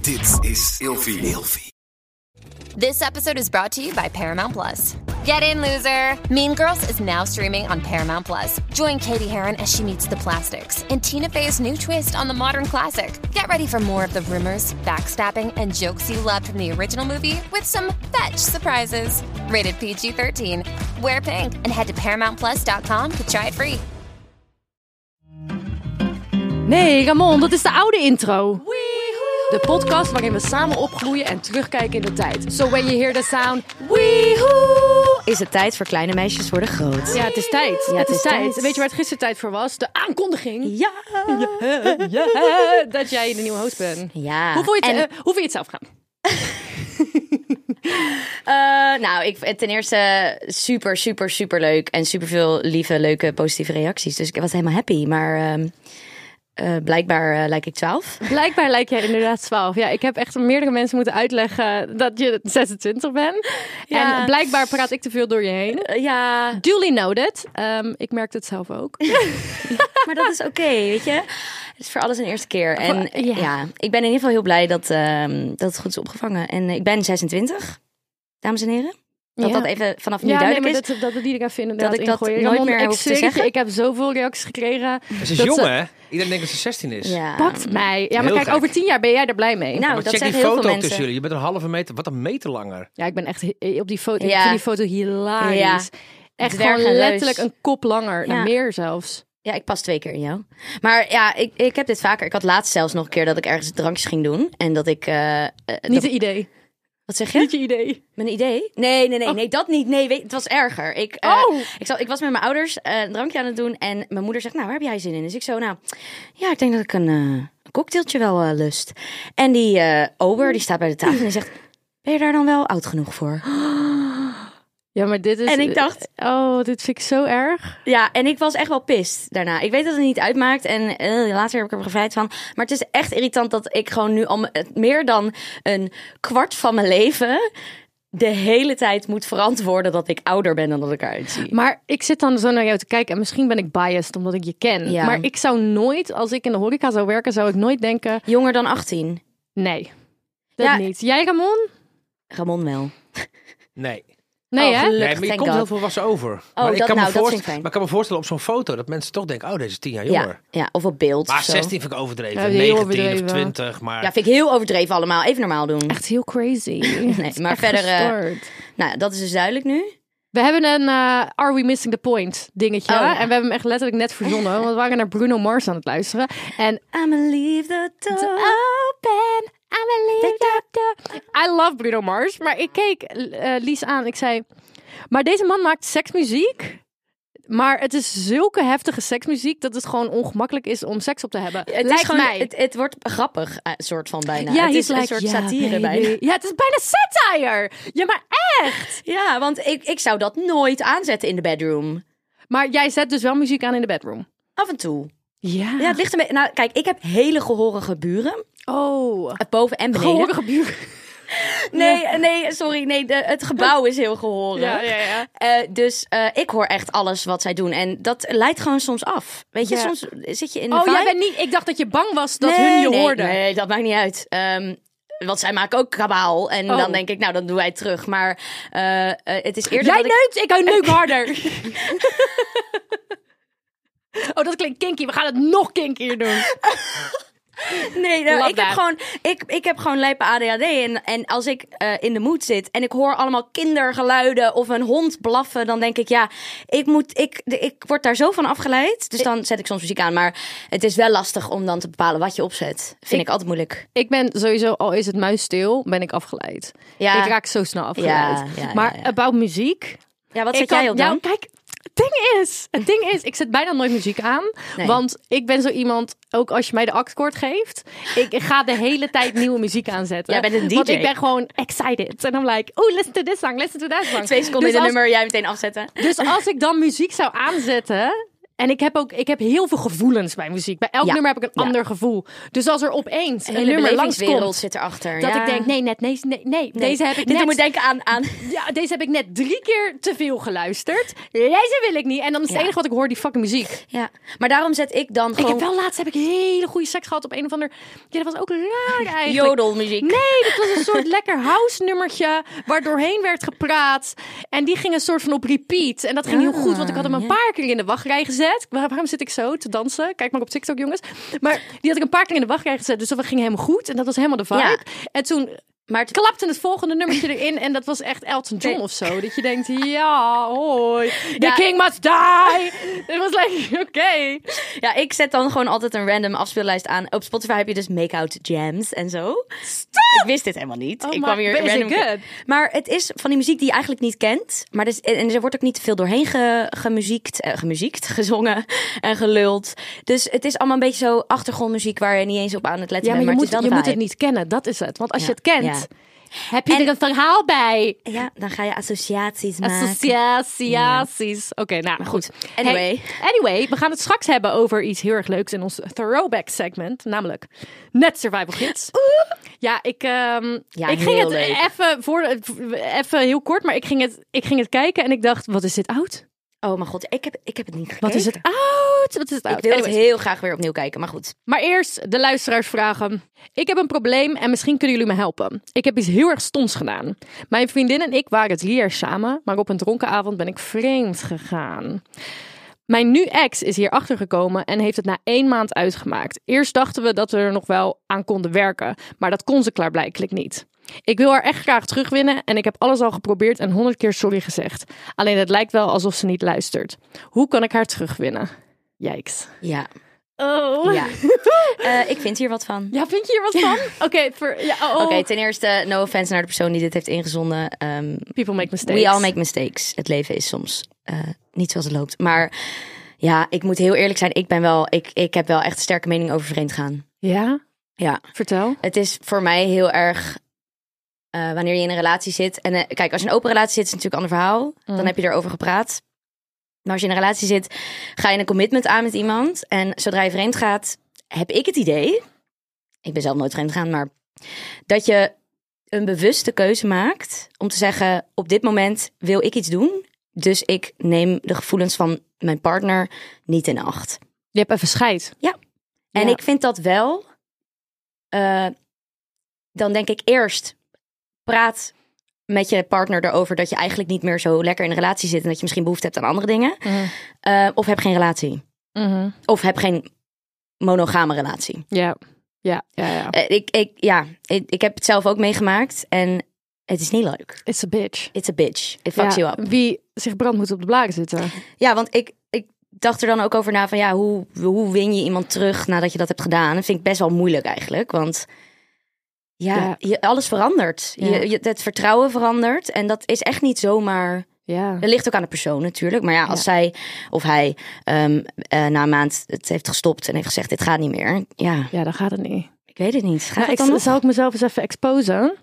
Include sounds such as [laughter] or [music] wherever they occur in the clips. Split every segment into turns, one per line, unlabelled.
Dit is Ilfie.
This episode is brought to you by Paramount Plus. Get in, loser! Mean Girls is now streaming on Paramount Plus. Join Katie Heron as she meets the plastics in Tina Fey's new twist on the modern classic. Get ready for more of the rumors, backstabbing, and jokes you loved from the original movie with some fetch surprises. Rated PG 13. Wear pink and head to ParamountPlus.com to try it free.
Nee, Ramon, dat is de oude intro. De podcast waarin we samen opgroeien en terugkijken in de tijd. So when you hear the sound, weehoe.
is het tijd voor kleine meisjes worden groot.
Ja, het is tijd.
Ja,
het is tijd. Weet je waar het gisteren tijd voor was? De aankondiging.
Ja.
Ja, [laughs] dat jij de nieuwe host bent.
Ja.
Hoe, vond je het,
En,
eh, hoe vind je het zelf gaan?
eh, nou, ik, ten eerste super, super, super leuk. En super veel lieve, leuke, positieve reacties. Dus ik was helemaal happy. Maar ehm, eh, blijkbaar eh, lijk ik 12.
Blijkbaar lijk jij inderdaad 12. Ja, ik heb echt meerdere mensen moeten uitleggen dat je 26 bent.
Ja.
En blijkbaar praat ik te veel door je heen.
Eh, ja,
Duly noted. Ehm, ik merkte het zelf ook.
maar dat is oké, weet je. Het is voor alles een eerste keer. En
ja.
ja. ik ben in ieder geval heel blij dat, ehm, dat het goed is opgevangen. En eh, ik ben 26, dames en heren. Dat
Ja.
dat even vanaf nu
ja,
duidelijk
nee, maar Dat,
is.
dat we die eraan vinden.
Dat ik
inderdaad
dat
ingooien.
nooit
Ramon,
meer
ik
hoef te
zweer het je,
zeggen.
Ik heb zoveel reacties gekregen.
Ze is
Dat
jong,
ze-
hè? Iedereen denkt dat ze 16 is.
Ja.
Pakt mij. Ja, maar
Heel
kijk,
gek.
over tien jaar ben jij er blij mee.
Nou,
Maar
dat
check die
zeggen heel
foto
veel
ook tussen
mensen.
jullie. Je bent een halve meter, wat een meter langer.
Ja, ik ben echt he- eh, op die foto. Ik
Ja.
vind die foto hilarisch.
Ja.
Echt
Dwergenreus.
gewoon letterlijk een kop langer. Nou,
Ja.
meer zelfs.
Ja, ik pas twee keer in jou. Maar ja, ik, ik heb dit vaker. Ik had laatst zelfs nog een keer dat ik ergens drankjes ging doen. En dat ik... eh, eh,
Niet
dat-
een idee.
wat zeg
Niet
je?
je idee.
Mijn idee? Nee, nee, nee, nee, dat niet. Nee, weet, het was erger. Ik, eh,
Oh.
ik, zat, ik was met mijn ouders eh, een drankje aan het doen. En mijn moeder zegt, nou, waar heb jij zin in? Dus ik zo, nou, ja, ik denk dat ik een, eh, een cocktailtje wel eh, lust. En die eh, ober, die staat bij de tafel en die zegt... Ben je daar dan wel oud genoeg voor?
Ja, maar dit is...
En ik dacht-
Oh, dit vind ik zo erg.
Ja, en ik was echt wel pist daarna. Ik weet dat het niet uitmaakt en eh, later heb ik er bevrijd van. Maar het is echt irritant dat ik gewoon nu al m- eh, meer dan een kwart van mijn leven de hele tijd moet verantwoorden dat ik ouder ben dan dat ik eruit zie.
Maar ik zit dan zo naar jou te kijken. En misschien ben ik biased omdat ik je ken.
Ja.
Maar ik zou nooit, als ik in de horeca zou werken, zou ik nooit denken...
Jonger dan 18.
Nee, dat
Ja.
niet. Jij, Ramon?
Ramon wel.
Nee.
Nee,
Oh,
hè?
gelukkig.
nee, maar je
thank
komt
God.
heel volwassen over. maar, ik
dat-
kan
nou, dat
me
vind ik
voorst-
fijn.
maar ik kan me voorstellen op zo'n foto dat mensen toch denken, oh, deze is tien jaar jonger.
Ja, ja, of op beeld.
Maar
of zo.
16 vind ik overdreven.
Ja, heel
19
overdreven.
of 20. Maar
Ja, vind ik heel overdreven allemaal. Even normaal doen.
Echt heel
[laughs]
crazy.
Nee, maar verder. eh,
Gestoord.
nou, ja, dat is dus duidelijk nu.
We hebben een eh, Are We Missing the Point dingetje.
Oh, ja.
En we hebben hem echt letterlijk net verzonnen. Want we waren naar Bruno Mars aan het luisteren. En
I'm gonna leave the door.
open, I'm a I love Bruno Mars. Maar ik keek eh, Lies aan. Ik zei, maar deze man maakt seksmuziek. Maar het is zulke heftige seksmuziek dat het gewoon ongemakkelijk is om seks op te hebben.
Het,
Lijkt
is gewoon,
mij.
Het, het wordt grappig, eh, soort van bijna.
ja,
het
he's
is een
like,
soort
"Yeah,
satire
baby."
bijna.
Ja, het is bijna satire. Ja, maar echt.
Ja, want ik, ik zou dat nooit aanzetten in de bedroom.
Maar jij zet dus wel muziek aan in de bedroom.
Af en toe.
Ja.
Ja, het ligt ermee. Nou, kijk, ik heb hele gehorige buren.
Oh.
Eh, Boven en beneden.
Gehorige buren.
Nee, eh, nee, sorry. Nee, de- het gebouw is heel gehorig.
Ja, ja, ja.
Eh, dus eh, ik hoor echt alles wat zij doen. En dat leidt gewoon soms af. Weet je,
Ja.
soms zit je in de
Oh,
vibe.
jij bent niet. Ik dacht dat je bang was dat
Nee,
hun je
nee,
hoorden.
Nee, dat maakt niet uit. Ehm, want zij maken ook kabaal. En
Oh.
dan denk ik, nou, dan doen wij het terug. Maar eh, eh, het is eerder
Jij
dat ik...
neukt, ik hou neuk harder.
[laughs]
oh, dat klinkt kinky. We gaan het nog kinkier doen.
Nee, nou,
Love
ik, heb
that.
gewoon, ik, ik heb gewoon lijpe ADHD. En, en als ik eh, in de mood zit en ik hoor allemaal kindergeluiden of een hond blaffen, dan denk ik, ja, ik, moet, ik, de- ik word daar zo van afgeleid. Dus dan zet ik soms muziek aan. Maar het is wel lastig om dan te bepalen wat je opzet. Vind ik, altijd moeilijk.
Ik ben sowieso, al is het muisstil, ben ik afgeleid.
Ja.
Ik raak zo snel afgeleid.
Ja, ja, ja,
maar
ja.
about muziek.
Ja, wat
ik
zet
kan-
jij op dan?
Nou, kijk, het ding is, het ding is, ik zet bijna nooit muziek aan.
Nee.
Want ik ben zo iemand, ook als je mij de akkoord geeft, ik ga de hele tijd nieuwe muziek aanzetten.
Jij bent een
Want
DJ.
ik ben gewoon excited. En I'm like, oh, listen to this song, listen to that song.
Twee seconden
Dus
in een
als-
nummer, jij meteen afzetten.
Dus als ik dan muziek zou aanzetten, En ik heb ook ik heb heel veel gevoelens bij muziek. Bij elk
Ja.
nummer heb ik een
Ja.
ander gevoel. Dus als er opeens een
Hele
nummer
belevingswereld
langskomt...
zit erachter.
Dat
ja.
ik denk, nee, net, nee, nee, nee.
Nee.
Deze heb ik
Dit
net
doet me denken aan... aan
ja, deze heb ik net drie keer te veel geluisterd. Deze wil ik niet. En dan is het
Ja.
enige wat ik hoor die fucking muziek.
ja. Maar daarom zet ik dan
Ik
gewoon
heb wel laatst heb ik hele goede seks gehad op een of ander. Ja, dat was ook [laughs] raar eigenlijk.
jodelmuziek.
Nee, dat was een soort lekker house nummertje waar doorheen werd gepraat. En die ging een soort van op repeat. En dat ging heel goed, want ik had hem een paar keer in de wachtrij gezet. Waar- waarom zit ik zo te dansen? Kijk maar op TikTok, jongens. Maar die had ik een paar keer in de wachtrij gezet. Dus dat ging helemaal goed. En dat was helemaal de vibe.
Ja.
En toen
Maar het-
klapte het volgende nummertje [laughs] erin. En dat was echt Elton John of zo. Dat je denkt, ja, hoi. The
Ja.
king must [laughs] die. Dit was like, oké.
Ja, ik zet dan gewoon altijd een random afspeellijst aan. Op Spotify heb je dus make-out jams en zo. Ik wist dit helemaal niet.
Oh
ik
my-
kwam hier
basic
random.
good.
Maar het is van die muziek die je eigenlijk niet kent. Maar dus, en en er wordt ook niet te veel doorheen ge, gemuziekt, eh, gemuziekt, [laughs] gezongen en geluld. Dus het is allemaal een beetje zo achtergrondmuziek waar je niet eens op aan het letten
Ja, maar je,
bent.
moet,
het is
je
wel
moet
de
het niet kennen. Dat is het. Want als
Ja.
je het kent,
Ja.
heb je er een verhaal bij.
vibe. Ja, dan ga je associaties maken.
Associaties. Oké, nou goed.
Anyway.
Hey, anyway, we gaan het straks hebben over iets heel erg leuks in ons throwback segment. Namelijk net survival gids. Ja, ik, ehm,
Ja,
ik ging
heel
het
leuk.
even voor even heel kort, maar ik ging, het, ik ging het kijken en ik dacht, wat is dit oud?
Oh mijn god, ik heb, ik heb het niet gekeken.
Wat is het oud? Wat is het oud?
Ik wil het
Anyways.
heel graag weer opnieuw kijken, maar goed.
Maar eerst de luisteraars vragen. Ik heb een probleem en misschien kunnen jullie me helpen. Ik heb iets heel erg stoms gedaan. Mijn vriendin en ik waren drie jaar samen, maar op een dronken avond ben ik vreemd gegaan. Mijn nu ex is hier achtergekomen en heeft het na één maand uitgemaakt. Eerst dachten we dat we er nog wel aan konden werken, maar dat kon ze klaarblijkelijk niet. Ik wil haar echt graag terugwinnen en ik heb alles al geprobeerd en honderd keer sorry gezegd. Alleen het lijkt wel alsof ze niet luistert. Hoe kan ik haar terugwinnen? Jijks.
Ja,
Oh. [laughs]
ja. Eh, ik vind hier wat van.
Ja, vind je hier wat van? [laughs] Oké, voor ja, oh, oh.
Oké, ten eerste, no offense naar de persoon die dit heeft ingezonden. Ehm,
people make mistakes.
we all make mistakes. Het leven is soms eh, niet zoals het loopt. Maar ja, ik moet heel eerlijk zijn. Ik ben wel, ik, ik heb wel echt een sterke mening over vreemd gaan.
Ja,
Ja,
vertel.
het is voor mij heel erg eh, wanneer je in een relatie zit. En eh, kijk, als je in een open relatie zit, is het natuurlijk een ander verhaal. Dan heb je erover gepraat. Maar als je in een relatie zit, ga je een commitment aan met iemand. En zodra je vreemd gaat, heb ik het idee. Ik ben zelf nooit vreemd gegaan, maar dat je een bewuste keuze maakt om te zeggen: op dit moment wil ik iets doen. Dus ik neem de gevoelens van mijn partner niet in acht.
Je hebt even scheid.
En
Ja.
ik vind dat wel. eh, dan denk ik eerst praat met je partner erover dat je eigenlijk niet meer zo lekker in een relatie zit en dat je misschien behoefte hebt aan andere dingen.
Mhm.
Eh, of heb geen relatie. Of heb geen monogame relatie.
Ja. Ja, ja, ja.
Eh, ik, ik, ja, ik, ik heb het zelf ook meegemaakt en het is niet leuk.
It's a bitch.
It's a bitch. It fucks
Ja,
you up.
Wie zich brand moet op de blaren zitten.
Ja, want ik, ik dacht er dan ook over na van ja, hoe, hoe win je iemand terug nadat je dat hebt gedaan? Dat vind ik best wel moeilijk eigenlijk, want ja,
Ja.
Je, alles verandert.
Ja.
Je, je, het vertrouwen verandert en dat is echt niet zomaar...
Ja.
Dat ligt ook aan de persoon natuurlijk. Maar ja, als zij of hij ehm, eh, na een maand het heeft gestopt en heeft gezegd dit gaat niet meer. Ja,
Ja, dan gaat het niet.
ik weet het niet. Gaat
Nou,
het
ik,
dan nog?
zal ik mezelf eens even exposen?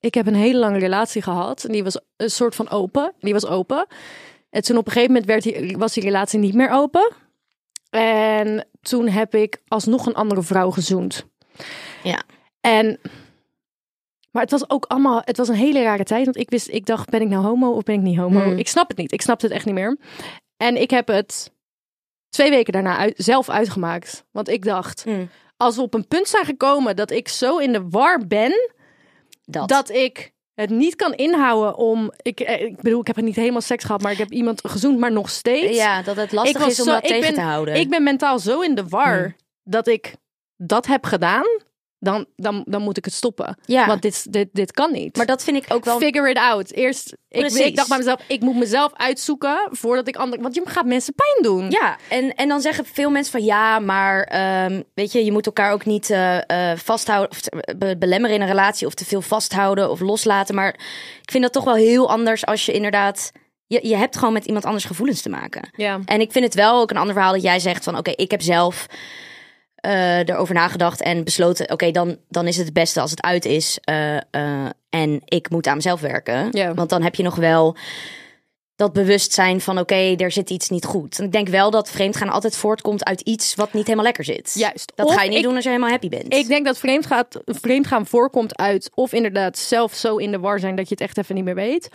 Ik heb een hele lange relatie gehad. En die was een soort van open. Die was open. En toen op een gegeven moment werd die, was die relatie niet meer open. En toen heb ik alsnog een andere vrouw gezoend.
Ja.
En, maar het was ook allemaal, het was een hele rare tijd. Want ik wist, ik dacht, ben ik nou homo of ben ik niet homo?
Hmm.
Ik snap het niet. Ik snap het echt niet meer. En ik heb het twee weken daarna uit- zelf uitgemaakt. Want ik dacht,
Hmm.
als we op een punt zijn gekomen dat ik zo in de war ben,
Dat.
dat ik het niet kan inhouden om, ik, eh, ik bedoel, ik heb er niet helemaal seks gehad, maar ik heb iemand gezoend, maar nog steeds.
Ja, dat het lastig
was
is om
zo-
dat
ik
tegen
ben-
te houden. Hmm.
Ik ben mentaal zo in de war dat ik dat heb gedaan, dan, dan, dan moet ik het stoppen.
ja,
Want dit, is- dit, dit kan niet.
maar dat vind ik ook wel...
Figure it out. Eerst, ik,
Precies.
ik dacht bij mezelf, ik moet mezelf uitzoeken voordat ik anderen... Want je gaat mensen pijn doen.
Ja, en, en dan zeggen veel mensen van ja, maar ehm, weet je, je moet elkaar ook niet eh, eh, vasthouden of te- be- belemmeren in een relatie of te veel vasthouden of loslaten. Maar ik vind dat toch wel heel anders als je inderdaad, je, je hebt gewoon met iemand anders gevoelens te maken.
Ja.
En ik vind het wel ook een ander verhaal dat jij zegt van oké, ik heb zelf eh, erover nagedacht en besloten, oké, dan, dan is het het beste als het uit is eh, eh, en ik moet aan mezelf werken.
Ja.
Want dan heb je nog wel dat bewustzijn van oké, er zit iets niet goed. En ik denk wel dat vreemdgaan altijd voortkomt uit iets wat niet helemaal lekker zit.
Juist.
Dat
Of
ga je niet
ik-
doen als je helemaal happy bent.
Ik denk dat vreemdgaan, vreemdgaan voorkomt uit of inderdaad zelf zo in de war zijn dat je het echt even niet meer weet.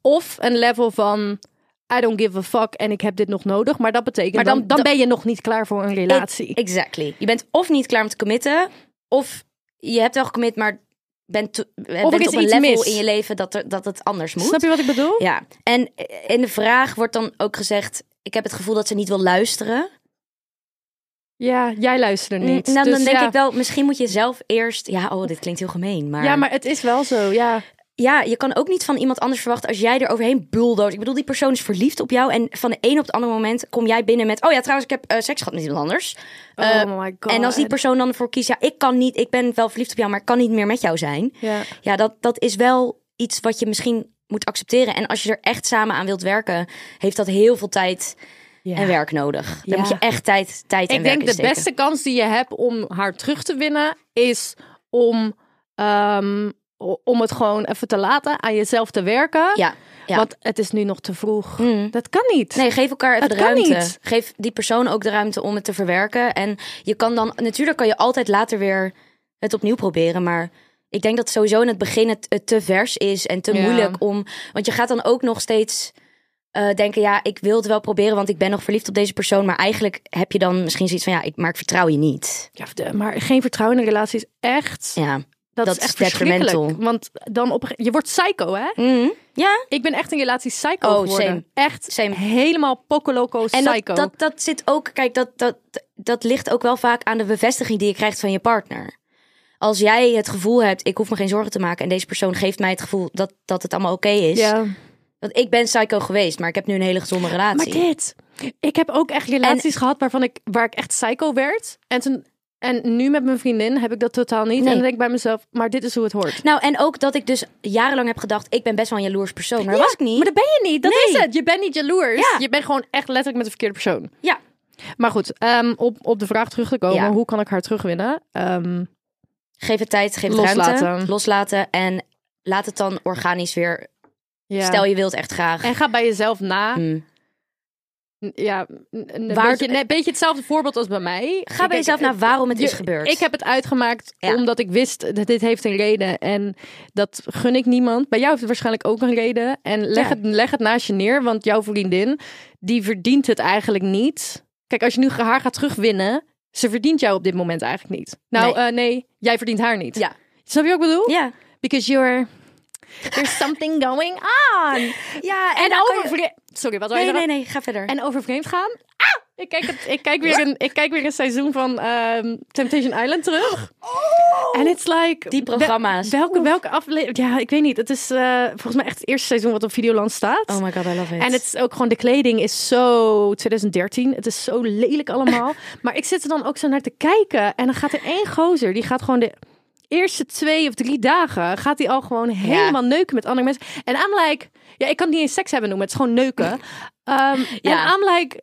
Of een level van I don't give a fuck en ik heb dit nog nodig. Maar dat betekent
Maar
maar
dan-
dan, dan, ben je nog niet klaar voor een relatie.
Exactly. Je bent of niet klaar om te committen, of je hebt wel gecommit, maar bent, te- bent
er is
op een
iets
level
mis.
in je leven dat, er, dat het anders moet.
Snap je wat ik bedoel?
Ja. En in de vraag wordt dan ook gezegd, ik heb het gevoel dat ze niet wil luisteren.
Ja, jij luisterde niet.
nou,
dus
dan denk
ja.
ik wel, misschien moet je zelf eerst... Ja, oh, dit klinkt heel gemeen, maar...
Ja, maar het is wel zo. Ja,
ja, je kan ook niet van iemand anders verwachten als jij er overheen bulldoot. Ik bedoel, die persoon is verliefd op jou. En van de een op het andere moment kom jij binnen met... Oh ja, trouwens, ik heb eh, seks gehad met iemand anders. Eh,
Oh my God.
En als die persoon dan ervoor kiest... Ja, ik kan niet, ik ben wel verliefd op jou, maar ik kan niet meer met jou zijn.
Ja.
ja dat, dat is wel iets wat je misschien moet accepteren. En als je er echt samen aan wilt werken, heeft dat heel veel tijd en werk nodig. Daar
Ja.
moet je echt tijd, tijd en
ik
werk
denk
in
de
steken.
beste kans die je hebt om haar terug te winnen is om, ehm, o- om het gewoon even te laten aan jezelf te werken.
Ja, ja. Mm.
Want het is nu nog te vroeg. Dat kan niet.
Nee, geef elkaar even
Dat
de
kan
ruimte.
niet.
Geef die persoon ook de ruimte om het te verwerken. En je kan dan, natuurlijk kan je altijd later weer het opnieuw proberen. Maar ik denk dat sowieso in het begin het, het te vers is en te
Ja.
moeilijk om. Want je gaat dan ook nog steeds eh, denken: ja, ik wil het wel proberen, want ik ben nog verliefd op deze persoon. Maar eigenlijk heb je dan misschien zoiets van: ja, ik, maar ik vertrouw je niet.
Ja, de- maar geen vertrouwen in een relatie is echt.
Ja,
dat,
dat
is
is
echt verschrikkelijk.
detrimental.
Want dan op, een ge- je wordt psycho, hè?
Mhm. ja.
Ik ben echt in relatie psycho
Oh,
geworden.
same.
Echt
Same.
helemaal pokoloco
En
psycho.
dat, dat, dat zit ook, kijk, dat, dat, dat ligt ook wel vaak aan de bevestiging die je krijgt van je partner. Als jij het gevoel hebt, ik hoef me geen zorgen te maken en deze persoon geeft mij het gevoel dat, dat het allemaal oké is.
ja.
Want ik ben psycho geweest, maar ik heb nu een hele gezonde
Maar
relatie.
dit, ik heb ook echt relaties gehad waarvan ik, waar ik echt psycho werd. En, toen, en nu met mijn vriendin heb ik dat totaal niet.
Nee.
En dan denk ik bij mezelf, maar dit is hoe het hoort.
Nou, en ook dat ik dus jarenlang heb gedacht, ik ben best wel een jaloers persoon. Maar dat was ik niet.
Maar dat ben je niet. Dat
Nee.
is het. Je bent niet jaloers.
Ja.
Je bent gewoon echt letterlijk met de verkeerde persoon.
Ja,
Maar goed, ehm, op, op de vraag terug te komen.
Ja.
Hoe kan ik haar terugwinnen? Ehm,
geef het tijd, geef het ruimte.
Loslaten.
Loslaten. En laat het dan organisch weer.
ja.
Stel je wilt echt graag.
En ga bij jezelf na.
Hm.
Ja, een, een
Waar-
beetje, een beetje hetzelfde voorbeeld als bij mij.
Ga bij
Kijk, eh,
jezelf naar waarom het is gebeurd.
Ik heb het uitgemaakt
Ja.
omdat ik wist dat dit heeft een reden. En dat gun ik niemand. Bij jou heeft het waarschijnlijk ook een reden. En leg,
Ja.
het, leg het naast je neer. Want jouw vriendin, die verdient het eigenlijk niet. Kijk, als je nu haar gaat terugwinnen... Ze verdient jou op dit moment eigenlijk niet. Nou,
Nee.
nee, nee jij verdient haar niet.
Ja.
Snap je wat ik bedoel?
Ja.
Because you're... There's something going on.
Ja,
En,
dan kan je-
over... vre- Sorry, wat wil je
Nee,
dan?
nee, nee, ga verder.
En over vreemd gaan. Ah! Ik kijk, het, ik, kijk weer een, ik kijk weer een seizoen van ehm, Temptation Island terug. En it's like...
Oh! Die programma's.
wel- welke, welke aflevering... Ja, ik weet niet. Het is eh, volgens mij echt het eerste seizoen wat op Videoland staat.
Oh my god, I love it.
en het is ook gewoon, de kleding is zo 2013. Het is zo lelijk allemaal.
[laughs]
maar ik zit er dan ook zo naar te kijken. En dan gaat er één gozer, die gaat gewoon de eerste twee of drie dagen... gaat hij al gewoon helemaal neuken met andere mensen. En I'm like... Ja, ik kan het niet eens seks hebben noemen. Het is gewoon
[laughs]
neuken. Ehm,
Ja.
En I'm like...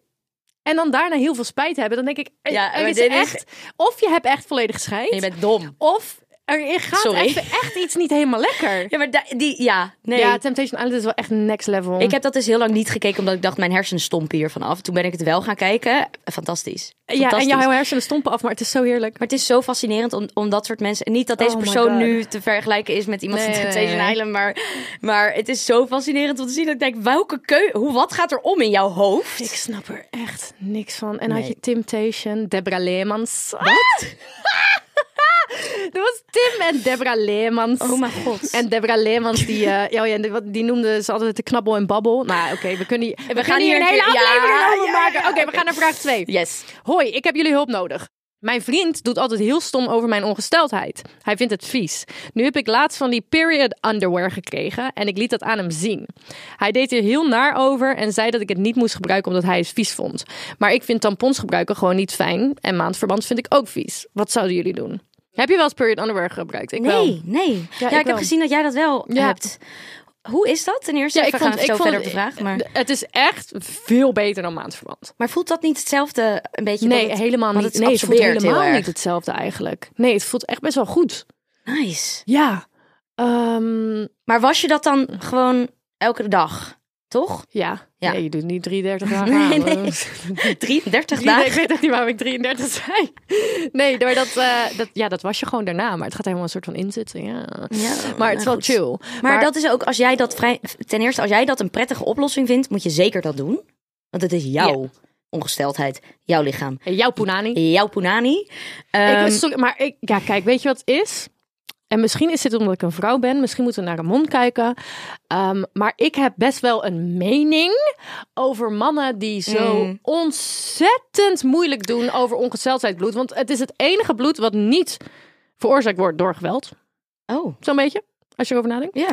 En dan daarna heel veel spijt hebben. Dan denk ik, er,
Ja,
er
maar
is
dit is-
echt... Of je hebt echt volledig scheid.
En [laughs] je bent dom.
Of er gaat
Sorry.
even echt iets niet helemaal lekker.
Ja, maar da- die, ja, nee.
Ja, Temptation Island is wel echt next level.
ik heb dat dus heel lang niet gekeken, omdat ik dacht, mijn hersenen stompen hiervan af. Toen ben ik het wel gaan kijken. Fantastisch.
ja, en
Fantastisch.
jouw hersenen stompen af, maar het is zo heerlijk.
Maar het is zo fascinerend om, om dat soort mensen... en Niet dat deze
Oh my
persoon
God.
nu te vergelijken is met iemand
Nee,
van
nee,
Temptation
nee.
Island. Maar, maar het is zo fascinerend om te zien. Dat ik denk, welke keu... Hoe, wat gaat er om in jouw hoofd?
Ik snap er echt niks van. En had
Nee.
je Temptation, Debra Leemans. Wat? [laughs] Dat was Tim en Debra Leemans.
Oh mijn god.
En Debra Leemans, [laughs] die, eh, ja, oh ja, die, wat- die noemde ze altijd de knabbel en babbel. Nou, oké, we kunnen hier, we
gaan
gaan hier
hier
een hele
een keer- ja,
aflevering over
ja,
maken.
ja,
Oké, we gaan naar vraag 2.
yes.
Hoi, ik heb jullie hulp nodig. Mijn vriend doet altijd heel stom over mijn ongesteldheid. Hij vindt het vies. Nu heb ik laatst van die period underwear gekregen en ik liet dat aan hem zien. Hij deed hier heel naar over en zei dat ik het niet moest gebruiken omdat hij het vies vond. Maar ik vind tampons gebruiken gewoon niet fijn en maandverband vind ik ook vies. Wat zouden jullie doen? Heb je wel eens period underwear gebruikt? Ik wel.
Nee, nee. Ja, ik,
ik
heb
wel.
gezien dat jij dat wel
Ja.
hebt. Hoe is dat ten eerste?
Ja,
we gaan zo verder op de vraag. Maar,
Het is echt veel beter dan maandverband.
maar voelt dat niet hetzelfde een beetje?
Nee,
dat het-
helemaal
want
niet.
het
Nee, het voelt
absorbeert heel
helemaal
erg.
niet hetzelfde eigenlijk. Nee, het voelt echt best wel goed.
Nice.
Ja. Ehm,
Maar was je dat dan gewoon elke dag?
[laughs]
Toch?
Ja.
Ja.
Nee, je doet niet 33 dagen
[laughs] Nee,
aan,
nee.
hoor.
33
Nee, ik
dagen.
weet echt niet waarom ik 33 zei. Nee, maar dat, eh, dat, ja, dat was je gewoon daarna. Maar het gaat helemaal een soort van inzitten. Ja.
Ja,
maar het is wel
nou goed.
chill.
Maar, dat is ook, als jij dat vrij, ten eerste, als jij dat een prettige oplossing vindt, moet je zeker dat doen. Want het is jouw ongesteldheid, jouw lichaam,
Jouw punani.
jouw punani. Ehm,
ik, sorry, maar ik, ja, kijk, weet je wat het is? En misschien is dit omdat ik een vrouw ben. Misschien moeten we naar een mond kijken. Ehm, maar ik heb best wel een mening over mannen die zo
Mm.
ontzettend moeilijk doen over ongesteldheid bloed. Want het is het enige bloed wat niet veroorzaakt wordt door geweld.
oh,
Zo'n beetje, als je erover nadenkt.
ja.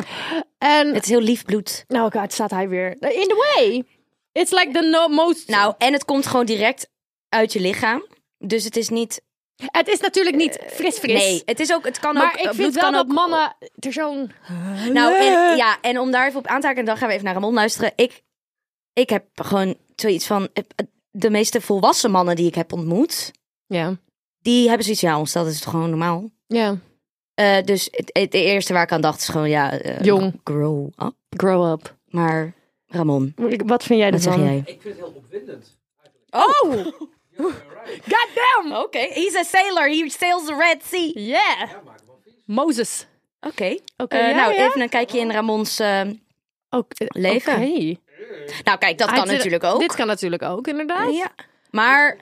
En
Het is heel lief bloed.
Nou, god, staat hij weer. In the way. It's like the no most...
Nou, en het komt gewoon direct uit je lichaam. Dus het is niet.
het is natuurlijk niet fris fris.
Nee, het is ook. Het kan ook.
maar ik
bloed
vind wel
kan
dat
ook-
mannen er zo'n...
Nou, en, ja, en om daar even op aan te haken, dan gaan we even naar Ramon luisteren. Ik, ik heb gewoon zoiets van. eh, De meeste volwassen mannen die ik heb ontmoet,
Ja,
die hebben zoiets. Ja, ons dat is toch gewoon normaal.
ja.
Eh, dus het, het eerste waar ik aan dacht is gewoon, ja, eh,
Jong.
Grow up.
Grow up.
Maar Ramon,
Wat vind jij
wat zeg
ervan?
jij?
Ik vind het heel opwindend.
Oh,
[laughs] God damn!
oké. He's a sailor. He sails the Red Sea.
Yeah! Moses.
Oké.
Oké,
Eh,
ja,
nou,
ja.
even een kijkje in Ramons... eh,
Ook, eh,
Leven.
oké.
Nou, kijk, dat
Hij
kan
zit-
natuurlijk ook.
Dit kan natuurlijk ook, inderdaad.
Ja. Maar...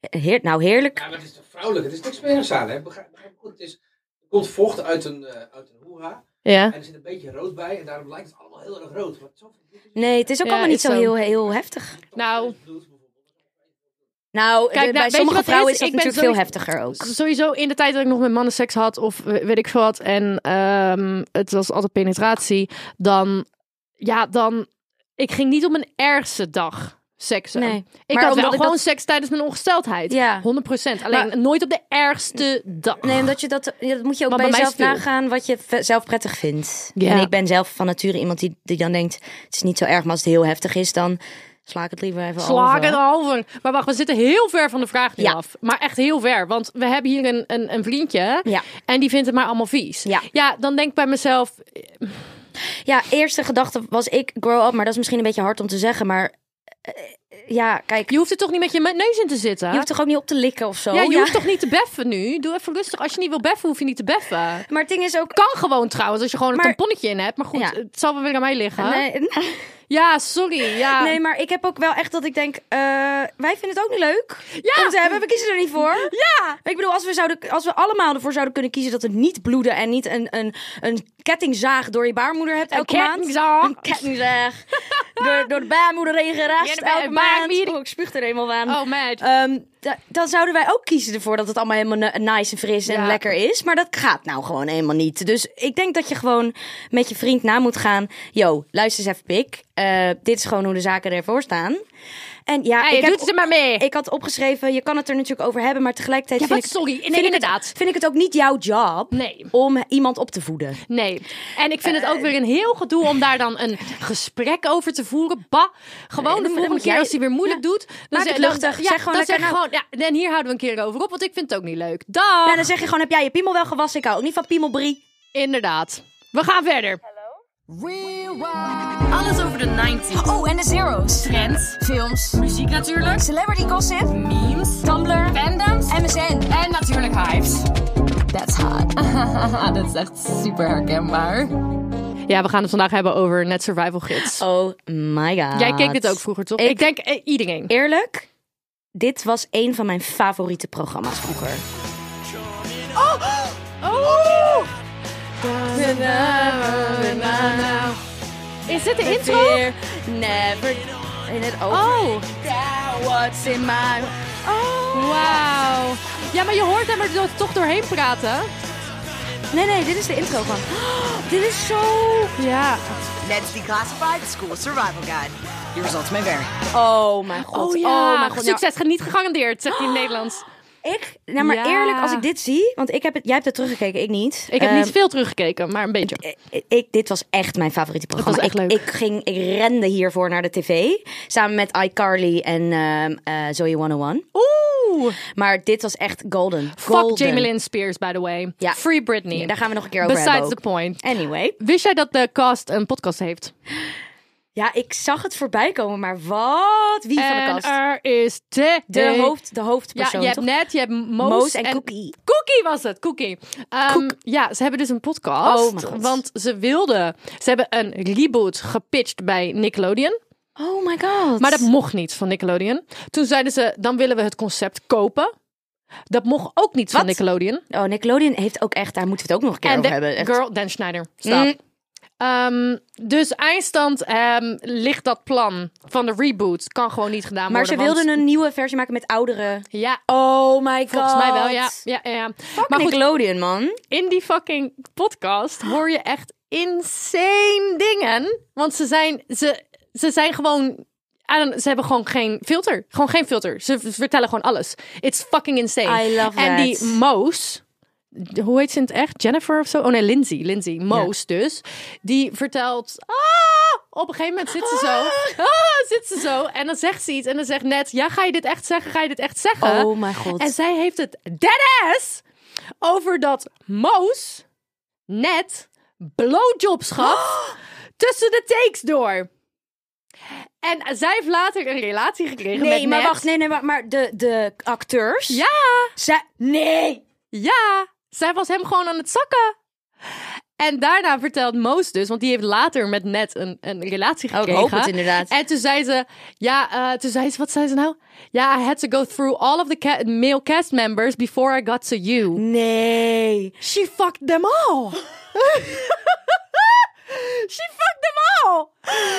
Heer, nou, heerlijk.
Ja, maar het is toch vrouwelijk? Het is niks meer aan, hè? Begrijp, begrijp me goed. Het is, er komt vocht uit een, eh, uit een hoera.
Ja.
En er zit een beetje rood bij. En daarom lijkt het allemaal heel erg rood. Maar zo
Nee, het is ook
Ja,
allemaal niet
is
zo
zo.
heel, heel heftig.
Nou,
Nou,
Kijk, nou,
de- bij
weet je
sommige
wat het is?
vrouwen is dat
Ik ben
natuurlijk veel
sowieso-
heftiger ook.
Sowieso in de tijd dat ik nog met mannen seks had, of eh, weet ik veel wat, en ehm, het was altijd penetratie, dan, ja, dan, ik ging niet op mijn ergste dag seksen.
Nee.
Ik had
Maar
wel
omdat ik
gewoon
dat-
seks tijdens mijn ongesteldheid.
Ja.
100%. Alleen nooit op de ergste dag.
Nee, omdat je dat, ja, dat moet je ook
Maar
bij
bij mij
jezelf
is het veel.
nagaan wat je v- zelf prettig vindt.
Ja.
En ik ben zelf van nature iemand die, die dan denkt, het is niet zo erg, maar als het heel heftig is, dan sla ik het liever even
Slaak
over.
het over. Maar wacht, we zitten heel ver van de vraag nu
Ja.
af. Maar echt heel ver. Want we hebben hier een, een, een vriendje.
Ja.
En die vindt het maar allemaal vies.
Ja.
ja, dan denk ik bij mezelf...
Ja, eerste gedachte was ik grow up, maar dat is misschien een beetje hard om te zeggen, maar eh, ja, kijk,
Je hoeft er toch niet met je neus in te zitten?
je hoeft toch ook niet op te likken of zo?
ja, je hoeft toch niet te beffen nu? Doe even rustig. Als je niet wil beffen, hoef je niet te beffen.
[laughs] Maar het ding is ook...
Kan gewoon trouwens, als je gewoon een
Maar-
tamponnetje in hebt. Maar goed,
Ja.
het zal wel weer aan mij liggen.
Nee,
Ja, sorry. Ja.
nee, maar ik heb ook wel echt dat ik denk, eh, wij vinden het ook niet leuk
Ja.
om te hebben. We kiezen er niet
[laughs]
voor. Ja. Ik bedoel, als we, zouden, als we allemaal ervoor zouden kunnen kiezen dat het niet bloeden en niet een, een, een kettingzaag door je baarmoeder hebt elke maand.
kettingzaag.
Een
[laughs]
kettingzaag. door, door de baarmoeder heen
Ja,
geraast
de
elke
baarmoeder.
maand. Oh, ik spuug er helemaal aan.
Oh, meid.
Ehm, da- dan zouden wij ook kiezen ervoor dat het allemaal helemaal ne- nice en fris en
Ja.
lekker is. Maar dat gaat nou gewoon helemaal niet. Dus ik denk dat je gewoon met je vriend na moet gaan. Yo, luister eens even, pik. Eh, dit is gewoon hoe de zaken ervoor staan. En ja,
Hey,
ik, heb
doet ze maar mee.
ik had opgeschreven, je kan het er natuurlijk over hebben, maar tegelijkertijd
ja,
vind,
wat,
ik,
sorry. Nee,
vind, ik
inderdaad.
het, vind ik het ook niet jouw job
Nee.
om iemand op te voeden.
Nee. En ik vind het
Eh,
ook weer een heel gedoe om daar dan een gesprek over te voeren. Bah. Gewoon de
dan
volgende
moet
keer
Eh, jij-
als hij weer moeilijk doet. Dan
Maak
zeg-
het
dan-
luchtig.
Ja,
Zeg gewoon
dan
lekker,
zeg ik
nou-
gewoon, ja, en hier houden we een keer over op, want ik vind het ook niet leuk. Dag.
Ja, dan zeg je gewoon, heb jij je piemel wel gewassen? Ik hou ook niet van piemelbrie.
Inderdaad. We gaan verder.
Alles over de 90s.
Oh, en de zeros.
Trends,
Films.
muziek natuurlijk,
Celebrity gossip.
memes,
Tumblr.
fandoms
MSN.
en natuurlijk hypes.
That's hot.
[laughs]
dat is echt super herkenbaar.
Ja, we gaan het vandaag hebben over Net Survival Gids.
Oh my god.
Jij keek dit ook vroeger, toch? Ik,
Ik-
denk eh, iedereen.
Eerlijk, dit was een van mijn favoriete programma's vroeger.
Is dit de intro?
never in it
Oh,
what's in my...
wauw. Ja, maar je hoort hem er do- toch doorheen praten.
Nee, nee, dit is de intro van... [gasps] dit is zo...
Ja.
Ned's Declassified School Survival Guide. Your results may vary.
Oh mijn god.
Oh ja,
mijn god. Nou,
succes gaat niet gegarandeerd, zegt hij
[gasps]
in het Nederlands.
ik, nou maar
Ja.
eerlijk, als ik dit zie... Want ik heb het, jij hebt het teruggekeken, ik niet.
Ik heb
Ehm,
niet veel teruggekeken, maar een beetje.
ik- ik, dit was echt mijn favoriete programma.
was echt
ik,
leuk.
Ik, ging, ik rende hiervoor naar de tv. Samen met iCarly en ehm eh Zoe 101.
Oeh!
Maar dit was echt golden.
Fuck
golden.
Jamie Lynn Spears, by the way.
Ja.
Free Britney.
Daar gaan we nog een keer over
Besides
hebben
the point.
ook. Anyway.
Wist jij dat de cast een podcast heeft?
Ja, ik zag het voorbij komen, maar wat? Wie van de
En
kast?
er is de,
de, hoofd, de
Ja,
hoofdpersoon,
je hebt
toch?
net, je hebt Moos,
Moos en, Cookie.
Cookie was het, Cookie. Ehm, ja, ze hebben dus een podcast.
Oh mijn god.
want ze wilden, ze hebben een reboot gepitcht bij Nickelodeon.
Oh my god.
Maar dat mocht niet van Nickelodeon. Toen zeiden ze, dan willen we het concept kopen. Dat mocht ook niet van
Wat?
Nickelodeon.
Oh, Nickelodeon heeft ook echt, daar moeten we het ook nog een keer
En
over
de
hebben. Echt.
girl, Dan Schneider, stop.
Mm.
Ehm, dus eindstand ehm, ligt dat plan van de reboot. Kan gewoon niet gedaan
Maar ze
worden. want-
wilden een nieuwe versie maken met oudere.
Ja,
Oh my god.
volgens mij wel, ja. ja, ja, ja. Maar goed,
Nickelodeon, man.
in die fucking podcast hoor je echt insane dingen. Want ze zijn, ze, ze zijn gewoon. I don't- ze hebben gewoon geen filter. Gewoon geen filter. Ze v- vertellen gewoon alles. It's fucking insane.
I love
En
that.
die Moos. Hoe heet ze in het echt? Jennifer of zo? Oh nee, Lindsay. Lindsay. Moos dus. Die vertelt... Ah! Op een gegeven moment zit ze zo. Ah, zit ze zo. En dan zegt ze iets. En dan zegt net... Ja, ga je dit echt zeggen? Ga je dit echt zeggen?
Oh mijn god.
En zij heeft het deadass over dat Moos net blowjobs gaf
[gasps]
tussen de takes door. En zij heeft later een relatie gekregen met
Nee, maar
Ned.
wacht, nee, nee, maar, maar de, de acteurs.
Ja,
Ze, nee.
ja. Zij was hem gewoon aan het zakken. En daarna vertelt Moos dus, want die heeft later met Ned een, een relatie
Oh, ik
gekregen.
hoop het inderdaad.
En toen zei ze, ja, eh, toen zei ze, wat zei ze nou? Ja, I had to go through all of the ca- male cast members before I got to you.
Nee.
She fucked them all. [laughs] She fucked them all.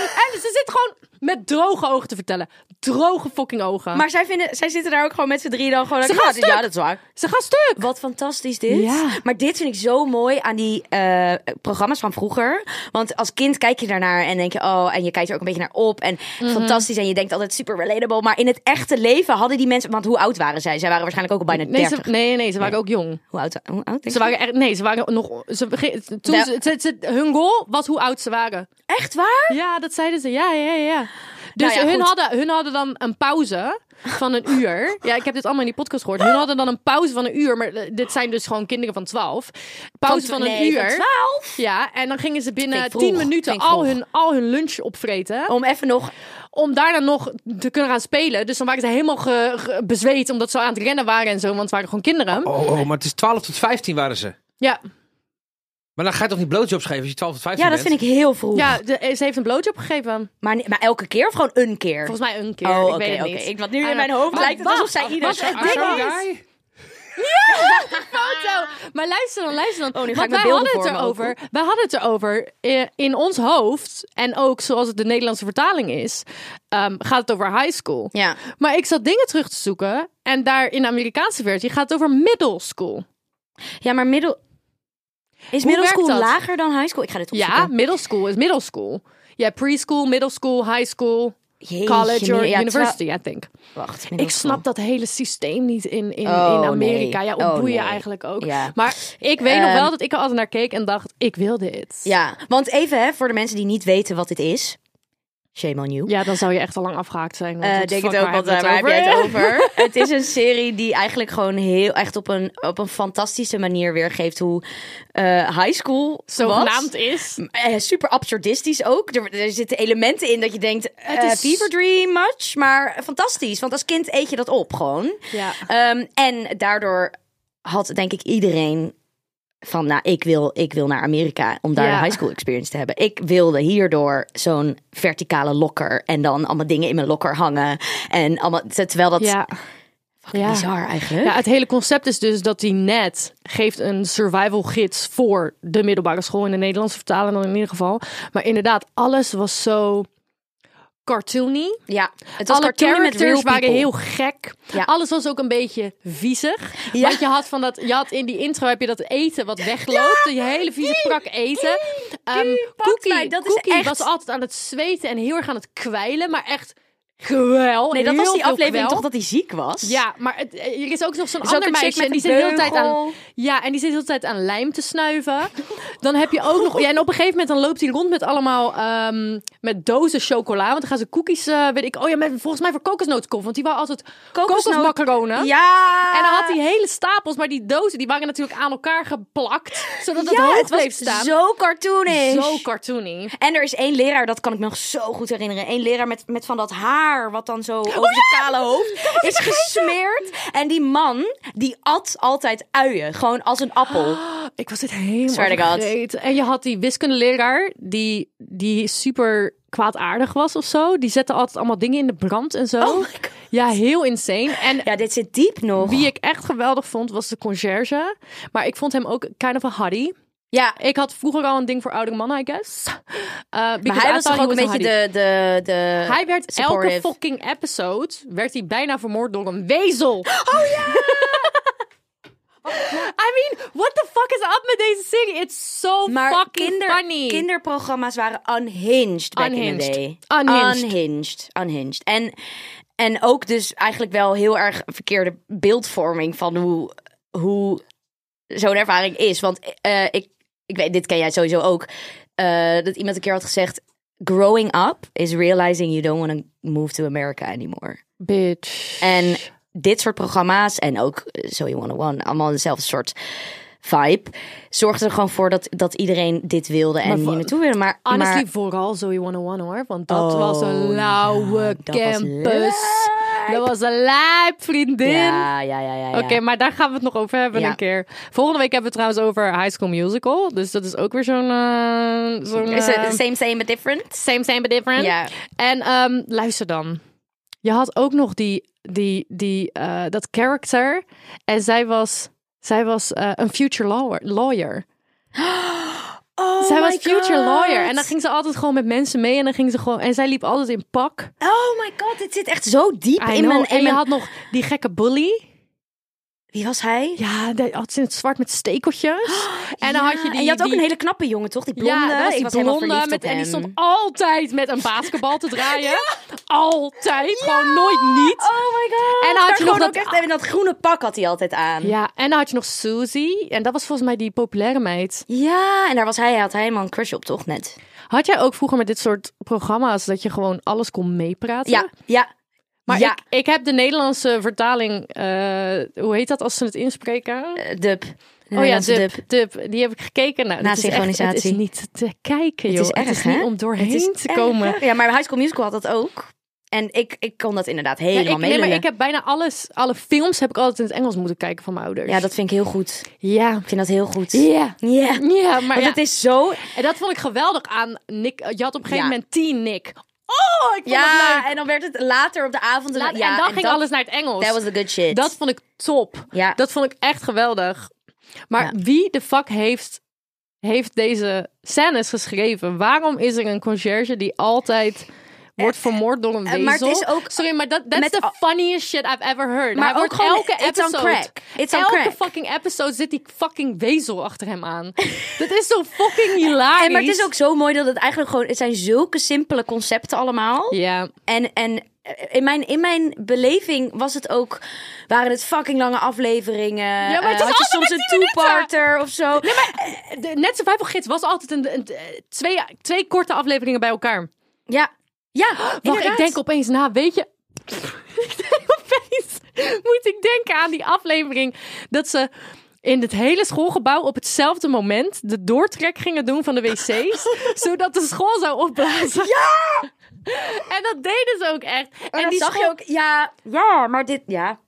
En ze zit gewoon met droge ogen te vertellen. Droge fucking ogen.
Maar zij, vinden, zij zitten daar ook gewoon met z'n drieën dan gewoon...
Ze
ja,
gaan
dit-
stuk.
ja, dat is waar.
ze gaat stuk.
Wat fantastisch dit.
Ja.
Maar dit vind ik zo mooi aan die eh, programma's van vroeger. Want als kind kijk je daarnaar en denk je, oh, en je kijkt er ook een beetje naar op. En
Mhm.
fantastisch. En je denkt altijd super relatable. Maar in het echte leven hadden die mensen. Want hoe oud waren zij? Zij waren waarschijnlijk ook al bijna
Nee,
30.
ze, nee, nee, ze waren ook jong.
Hoe oud, hoe oud denk
Ze
je?
waren echt, nee, ze waren nog. Ze, ge- toen
Nou.
ze, ze- ze- hun goal was hoe oud ze waren.
Echt waar?
Ja, dat zeiden ze. Ja, ja, ja. Dus
Nou ja,
hun,
goed.
hadden, hun hadden dan een pauze van een uur. Ja, ik heb dit allemaal in die podcast gehoord. Hun hadden dan een pauze van een uur. Maar eh, dit zijn dus gewoon kinderen van 12. Pauze van, een
nee,
uur.
van 12.
Ja, en dan gingen ze binnen
Vind ik vroeg.
10 minuten
Vind ik
al
vroeg.
hun, al hun lunch opvreten.
Om even nog.
Om daarna nog te kunnen gaan spelen. Dus dan waren ze helemaal ge- ge- bezweet omdat ze aan het rennen waren en zo. Want het waren gewoon kinderen.
Oh, oh, maar het is 12 tot 15 waren ze.
Ja,
Maar dan ga je toch niet blootjobs geven als je 12 tot 15
Ja, dat
bent?
vind ik heel vroeg.
ja de- ze heeft een blowjob gegeven.
Maar, ni- maar elke keer of gewoon een keer?
Volgens mij een keer.
Oh,
ik
oké,
weet het
oké.
niet.
Ik- want nu in
Ah,
mijn hoofd
maar
lijkt het alsof
wacht,
zij Oh, iedereen
Wat echt
I'm
ding
sorry,
is.
guy.
foto. Maar luister dan, luister dan.
nu ga
Want
ik mijn
wij
beelden
hadden het
vormen ook.
erover. Wij hadden het erover eh, in ons hoofd. En ook zoals het de Nederlandse vertaling is. ehm, gaat het over high school.
Ja.
Maar ik zat dingen terug te zoeken. En daar in de Amerikaanse versie gaat het over middle school.
Ja, maar middel. Is
Hoe
middle
werkt
school
dat?
lager dan high school? Ik ga dit opzoeken.
Ja, middle school is middle school. Je hebt preschool, middle school, high school,
Jeetje,
college or
mi- ja,
university, I think.
Wacht,
Ik
middle school.
snap dat hele systeem niet in, in,
Oh,
in Amerika.
nee.
Ja,
Oh,
ontboeien boeien
nee.
eigenlijk ook.
Ja.
Maar ik weet nog
Ehm,
wel dat ik er altijd naar keek en dacht, ik wil dit.
Ja, want even hè, voor de mensen die niet weten wat dit is. Shame on you.
Ja, dan zou je echt al lang afgehaakt zijn.
Eh,
want
denk
fuck,
het ook,
waar
want daar
hebben
heb
we
jij het
over?
over. [laughs] het is een serie die eigenlijk gewoon heel echt op een, op een fantastische manier weergeeft hoe eh, high school
[laughs] Zogenaamd
was.
is.
Eh, super absurdistisch ook. Er, er zitten elementen in dat je denkt, het
is-
is fever dream much, maar fantastisch. Want als kind eet je dat op gewoon.
Ja.
Ehm, en daardoor had denk ik iedereen van, nou, ik wil, ik wil naar Amerika om daar
Ja.
de high school experience te hebben. Ik wilde hierdoor zo'n verticale lokker en dan allemaal dingen in mijn lokker hangen. En allemaal, ter- terwijl dat
Ja. ja.
bizar eigenlijk.
Ja, het hele concept is dus dat die net geeft een survival gids voor de middelbare school in de Nederlandse vertaling dan in ieder geval. Maar inderdaad, alles was zo cartoony.
Ja, het was
Alle
cartoon met
characters
real
waren
people.
heel gek.
Ja.
Alles was ook een beetje viezig.
Ja.
Want je had van dat, je had in die intro heb je dat eten wat wegloopt, die hele vieze prak eten. Ehm,
pakt
cookie
mij. Dat is
cookie
echt-
was altijd aan het zweten en heel erg aan het kwijlen, maar echt geweld.
Nee, dat was die aflevering toch
toch
dat hij ziek was?
ja, maar het, eh, er is ook nog zo'n
is ook
ander
een chick
meisje
met
en die
een
zit de hele tijd
beugel.
aan ja en die zit de hele tijd aan lijm te snuiven. Dan heb je ook nog... Ja, en op een gegeven moment dan loopt hij rond met allemaal... ehm, met dozen chocola. Want dan gaan ze cookies, eh, weet ik... Oh ja, met, volgens mij voor kokosnootkoffie. Want die wou altijd kokosmacaronen.
Ja.
En dan had hij hele stapels, maar die dozen die waren natuurlijk aan elkaar geplakt. Zodat het
ja,
hoog
het
bleef
was
staan.
zo cartoonish.
Zo cartoony.
en er is één leraar, dat kan ik me nog zo goed herinneren. Eén leraar met, met van dat haar, wat dan
Oh
zo over zijn kale hoofd is gesmeerd. En die man, die at altijd uien. Gewoon als een appel.
[gasps] Ik was dit helemaal
Swear to God.
vergeten. En je had die wiskundeleraar die, die super kwaadaardig was of zo. Die zette altijd allemaal dingen in de brand en zo.
Oh my God.
Ja, heel insane. En
Ja, dit zit diep nog.
wie ik echt geweldig vond was de conciërge. Maar ik vond hem ook kind of a hottie.
Ja,
Ik had vroeger al een ding voor oudere mannen, I guess. Eh,
maar
because
hij
I
was
thought
toch
he
ook een
was a
beetje
hottie.
de, de, de...
Hij werd
supportive.
elke fucking episode werd hij bijna vermoord door een wezel. Oh ja! [laughs] I mean, what the fuck is up met deze serie? It's so
Maar
fucking
kinder,
funny.
kinderprogramma's waren unhinged back in
Unhinged.
the day.
Unhinged.
Unhinged. Unhinged. En, en ook dus eigenlijk wel heel erg een verkeerde beeldvorming van hoe, hoe zo'n ervaring is. Want eh, ik, ik weet, dit ken jij sowieso ook. eh, dat iemand een keer had gezegd... Growing up is realizing you don't want to move to America anymore.
Bitch.
En dit soort programma's en ook eh, So You 101, allemaal dezelfde soort vibe, zorgde er gewoon voor dat, dat iedereen dit wilde en hier
voor-
naartoe wilde. Maar,
Honestly,
maar
vooral Zoe 101 hoor. Want dat
Oh,
was een lauwe
dat was
campus.
lijp.
dat was een lijp, vriendin.
ja, ja, ja, ja. ja.
Oké, maar daar gaan we het nog over hebben
Ja.
een keer. Volgende week hebben we het trouwens over High School Musical. Dus dat is ook weer zo'n... eh, zo'n
Is het
eh,
same, same, but different?
Same, same, but different.
Ja.
En ehm, luister dan. Je had ook nog die, die, die, eh, dat character. En zij was, zij was eh, een future lawyer. lawyer.
[gasps] Oh
zij was future lawyer. En dan ging ze altijd gewoon met mensen mee. En, dan ging ze gewoon, en zij liep altijd in pak.
Oh my god, dit zit echt zo diep
I
in
know.
mijn...
en
In
je
mijn...
had nog die gekke bully.
Wie was hij?
Ja, die had ze in het zwart met stekeltjes. [gasps] en dan
Ja,
had je die...
en je had ook
die-
een hele knappe jongen, toch? Die blonde.
ja, dat was die
ik was helemaal
blonde
verliefd
met,
op
en die
hem.
stond altijd met een basketbal te
[laughs]
draaien. Altijd, gewoon nooit niet.
Oh my god.
En dan had
Daar
je nog
gewoon
dat-
ook echt, en dat groene pak had hij altijd aan.
Ja, en dan had je nog Suzy. En dat was volgens mij die populaire meid.
Ja, en daar was hij, had hij helemaal een crush op, toch net?
Had jij ook vroeger met dit soort programma's dat je gewoon alles kon meepraten?
Ja, ja.
Maar
ja.
ik, ik heb de Nederlandse vertaling, eh, hoe heet dat als ze het inspreken?
Eh, dub. De
oh ja,
Nederlandse
dub, dub. Die heb ik gekeken. Nou,
Na
dat is echt-
synchronisatie.
Het is niet te kijken, joh.
Het is erg, hè?
niet om doorheen
Het is
te
erg, [laughs]
komen.
hè? Ja, maar High School Musical had dat ook. En ik, ik kon dat inderdaad
Ja,
helemaal
ik, nee, maar
mee.
ik heb bijna alles, alle films heb ik altijd in het Engels moeten kijken van mijn ouders.
Ja, dat vind ik heel goed.
Ja.
Ik vind dat heel goed.
Ja.
Ja.
Ja, maar
Want
ja.
het is zo...
En dat vond ik geweldig aan Nick. Je had op een gegeven
Ja.
moment tien Nick. Oh, ik vond dat leuk.
Ja, en dan werd het later op de avond...
Laat-
ja,
en dan ging alles naar het Engels.
That was the good shit.
Dat vond ik top.
Ja.
Dat vond ik echt geweldig. Maar wie de fuck heeft, heeft deze scènes geschreven? Waarom is er een conciërge die altijd wordt vermoord door een
eh,
wezel?
maar het is ook-
Sorry, maar dat that's
met
the
al-
funniest shit I've ever heard.
Maar
Hij
ook
wordt
gewoon,
elke
it's on
episode...
crack. It's on
elke
crack.
fucking episode zit die fucking wezel achter hem aan. [laughs] dat is zo fucking hilarisch.
en, maar het is ook zo mooi dat het eigenlijk gewoon... Het zijn zulke simpele concepten allemaal.
Ja.
En, en eh, in, mijn, in mijn beleving was het ook, waren het fucking lange afleveringen.
maar het
Eh,
is
had je
altijd
soms
maar
een
10 minuten.
two-parter of zo.
De Net Survival Gids was altijd een, een- twee, twee korte afleveringen bij elkaar.
Ja, ja
[gasps] Wacht, ik
inderdaad.
denk opeens na, weet je... [laughs] ik denk opeens moet ik denken aan die aflevering dat ze in het hele schoolgebouw op hetzelfde moment de doortrek gingen doen van de
[laughs]
wc's, zodat de school zou opblazen. Ja! [laughs] En dat deden ze ook echt.
En,
en, die
zag je
school-
ook, ja, ja, maar dit, ja.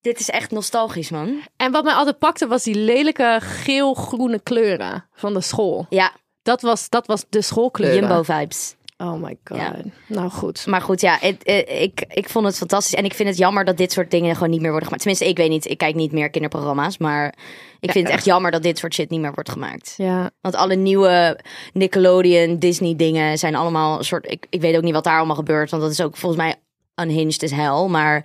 Dit is echt nostalgisch, man.
en wat mij altijd pakte was die lelijke geel-groene kleuren van de school.
Ja,
Dat was, dat was de schoolkleur.
Jumbo-vibes.
Oh my god.
Ja.
Nou goed.
Maar goed, ja, het- eh, ik, ik vond het fantastisch. En ik vind het jammer dat dit soort dingen gewoon niet meer worden gemaakt. Tenminste, ik weet niet, ik kijk niet meer kinderprogramma's. Maar ik vind het echt jammer dat dit soort shit niet meer wordt gemaakt.
Ja.
Want alle nieuwe Nickelodeon, Disney dingen zijn allemaal een soort... Ik, ik weet ook niet wat daar allemaal gebeurt. Want dat is ook volgens mij unhinged as hell. Maar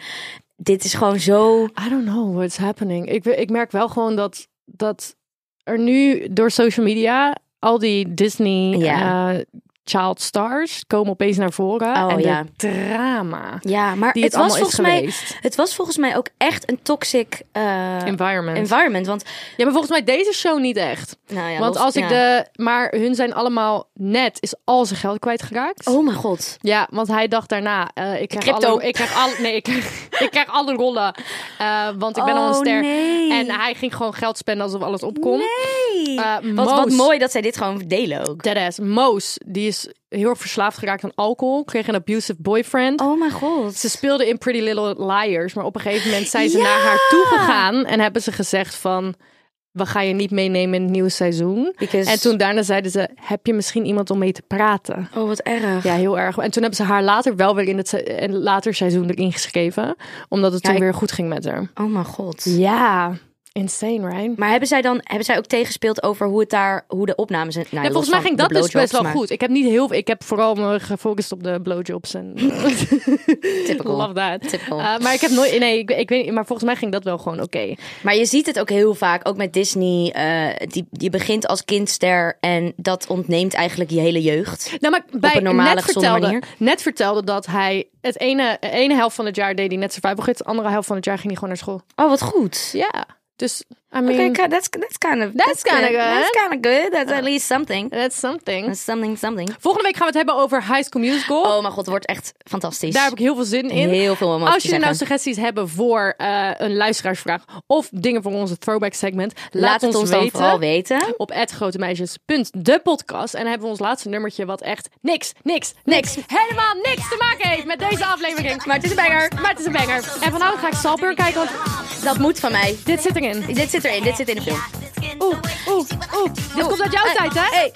dit is gewoon zo...
I don't know what's happening. Ik, we- ik merk wel gewoon dat, dat er nu door social media al die Disney
Ja.
eh, child stars komen opeens naar voren.
Oh,
en
ja.
de drama
Ja, maar
die
het,
het,
was
allemaal is
volgens mij,
geweest.
het was volgens mij ook echt een toxic eh,
Environment.
environment. Want,
ja, maar volgens mij deze show niet echt.
nou ja,
Want
los-
als ik
ja.
de... Maar hun zijn allemaal net is al zijn geld kwijtgeraakt.
Oh mijn god.
Ja, want hij dacht daarna, eh, ik, krijg
Crypto.
alle, ik, krijg alle, nee, ik, krijg, [laughs] ik krijg alle rollen, eh, want ik ben al een
Oh,
ster.
nee.
En hij ging gewoon geld spenden alsof alles opkomt.
Nee.
Eh,
wat, wat
Moos.
mooi dat zij dit gewoon delen ook.
Deadass. Moos, die is heel erg verslaafd geraakt aan alcohol, kreeg een abusive boyfriend.
Oh mijn god.
Ze speelde in Pretty Little Liars, maar op een gegeven moment zijn ze
Ja!
naar haar toegegaan en hebben ze gezegd van, we gaan je niet meenemen in het nieuwe seizoen.
Because-
En toen daarna zeiden ze, heb je misschien iemand om mee te praten?
Oh, wat erg.
Ja, heel erg. En toen hebben ze haar later wel weer in het se- en later seizoen erin geschreven. Omdat het
Ja,
toen
ik-
weer goed ging met haar.
Oh mijn god.
Ja, insane, right?
Maar hebben zij dan hebben zij ook tegengespeeld over hoe het daar hoe de opnames en nou,
Ja, volgens mij
los van
ging
de
dat dus
blowjobs,
best wel
maar
goed. Ik heb niet heel Ik heb vooral me gefocust op de blowjobs en
typical.
love that.
Typical.
Eh, maar ik heb nooit. Nee, ik, ik weet niet. Maar volgens mij ging dat wel gewoon oké.
Maar je ziet het ook heel vaak, ook met Disney. eh, die, die begint als kindster en dat ontneemt eigenlijk je hele jeugd.
Nou, maar bij
een normale,
net
gezonde
vertelde,
manier.
Net vertelde dat hij het ene, ene helft van het jaar deed hij net survival gids. De andere helft van het jaar ging hij gewoon naar school.
Oh, wat goed.
Ja, dus I mean,
Oké, okay, that's, that's kind of
That's kinda
good.
good.
That's kind of good. That's at least something.
that's something.
That's something, something.
Volgende week gaan we het hebben over High School Musical.
Oh mijn god, het wordt echt fantastisch.
Daar heb ik heel veel zin in.
Heel veel emoties
Als jullie nou
zeggen.
suggesties hebben voor eh, een luisteraarsvraag of dingen voor onze throwback segment, laat,
Laat het
ons,
ons dan
weten.
vooral weten.
Op @grotemeisjes.depodcast en dan hebben we ons laatste nummertje wat echt niks, niks,
[laughs]
niks, helemaal niks te maken heeft met deze aflevering. Maar het is een banger. Maar het is een banger. En vanavond ga ik Salburg kijken, want
Dat moet van mij.
dit zit erin.
Dit zit erin, dit zit in de film.
Oeh, oeh, oeh. Dit komt uit jouw tijd, hè?
Eh, Hey.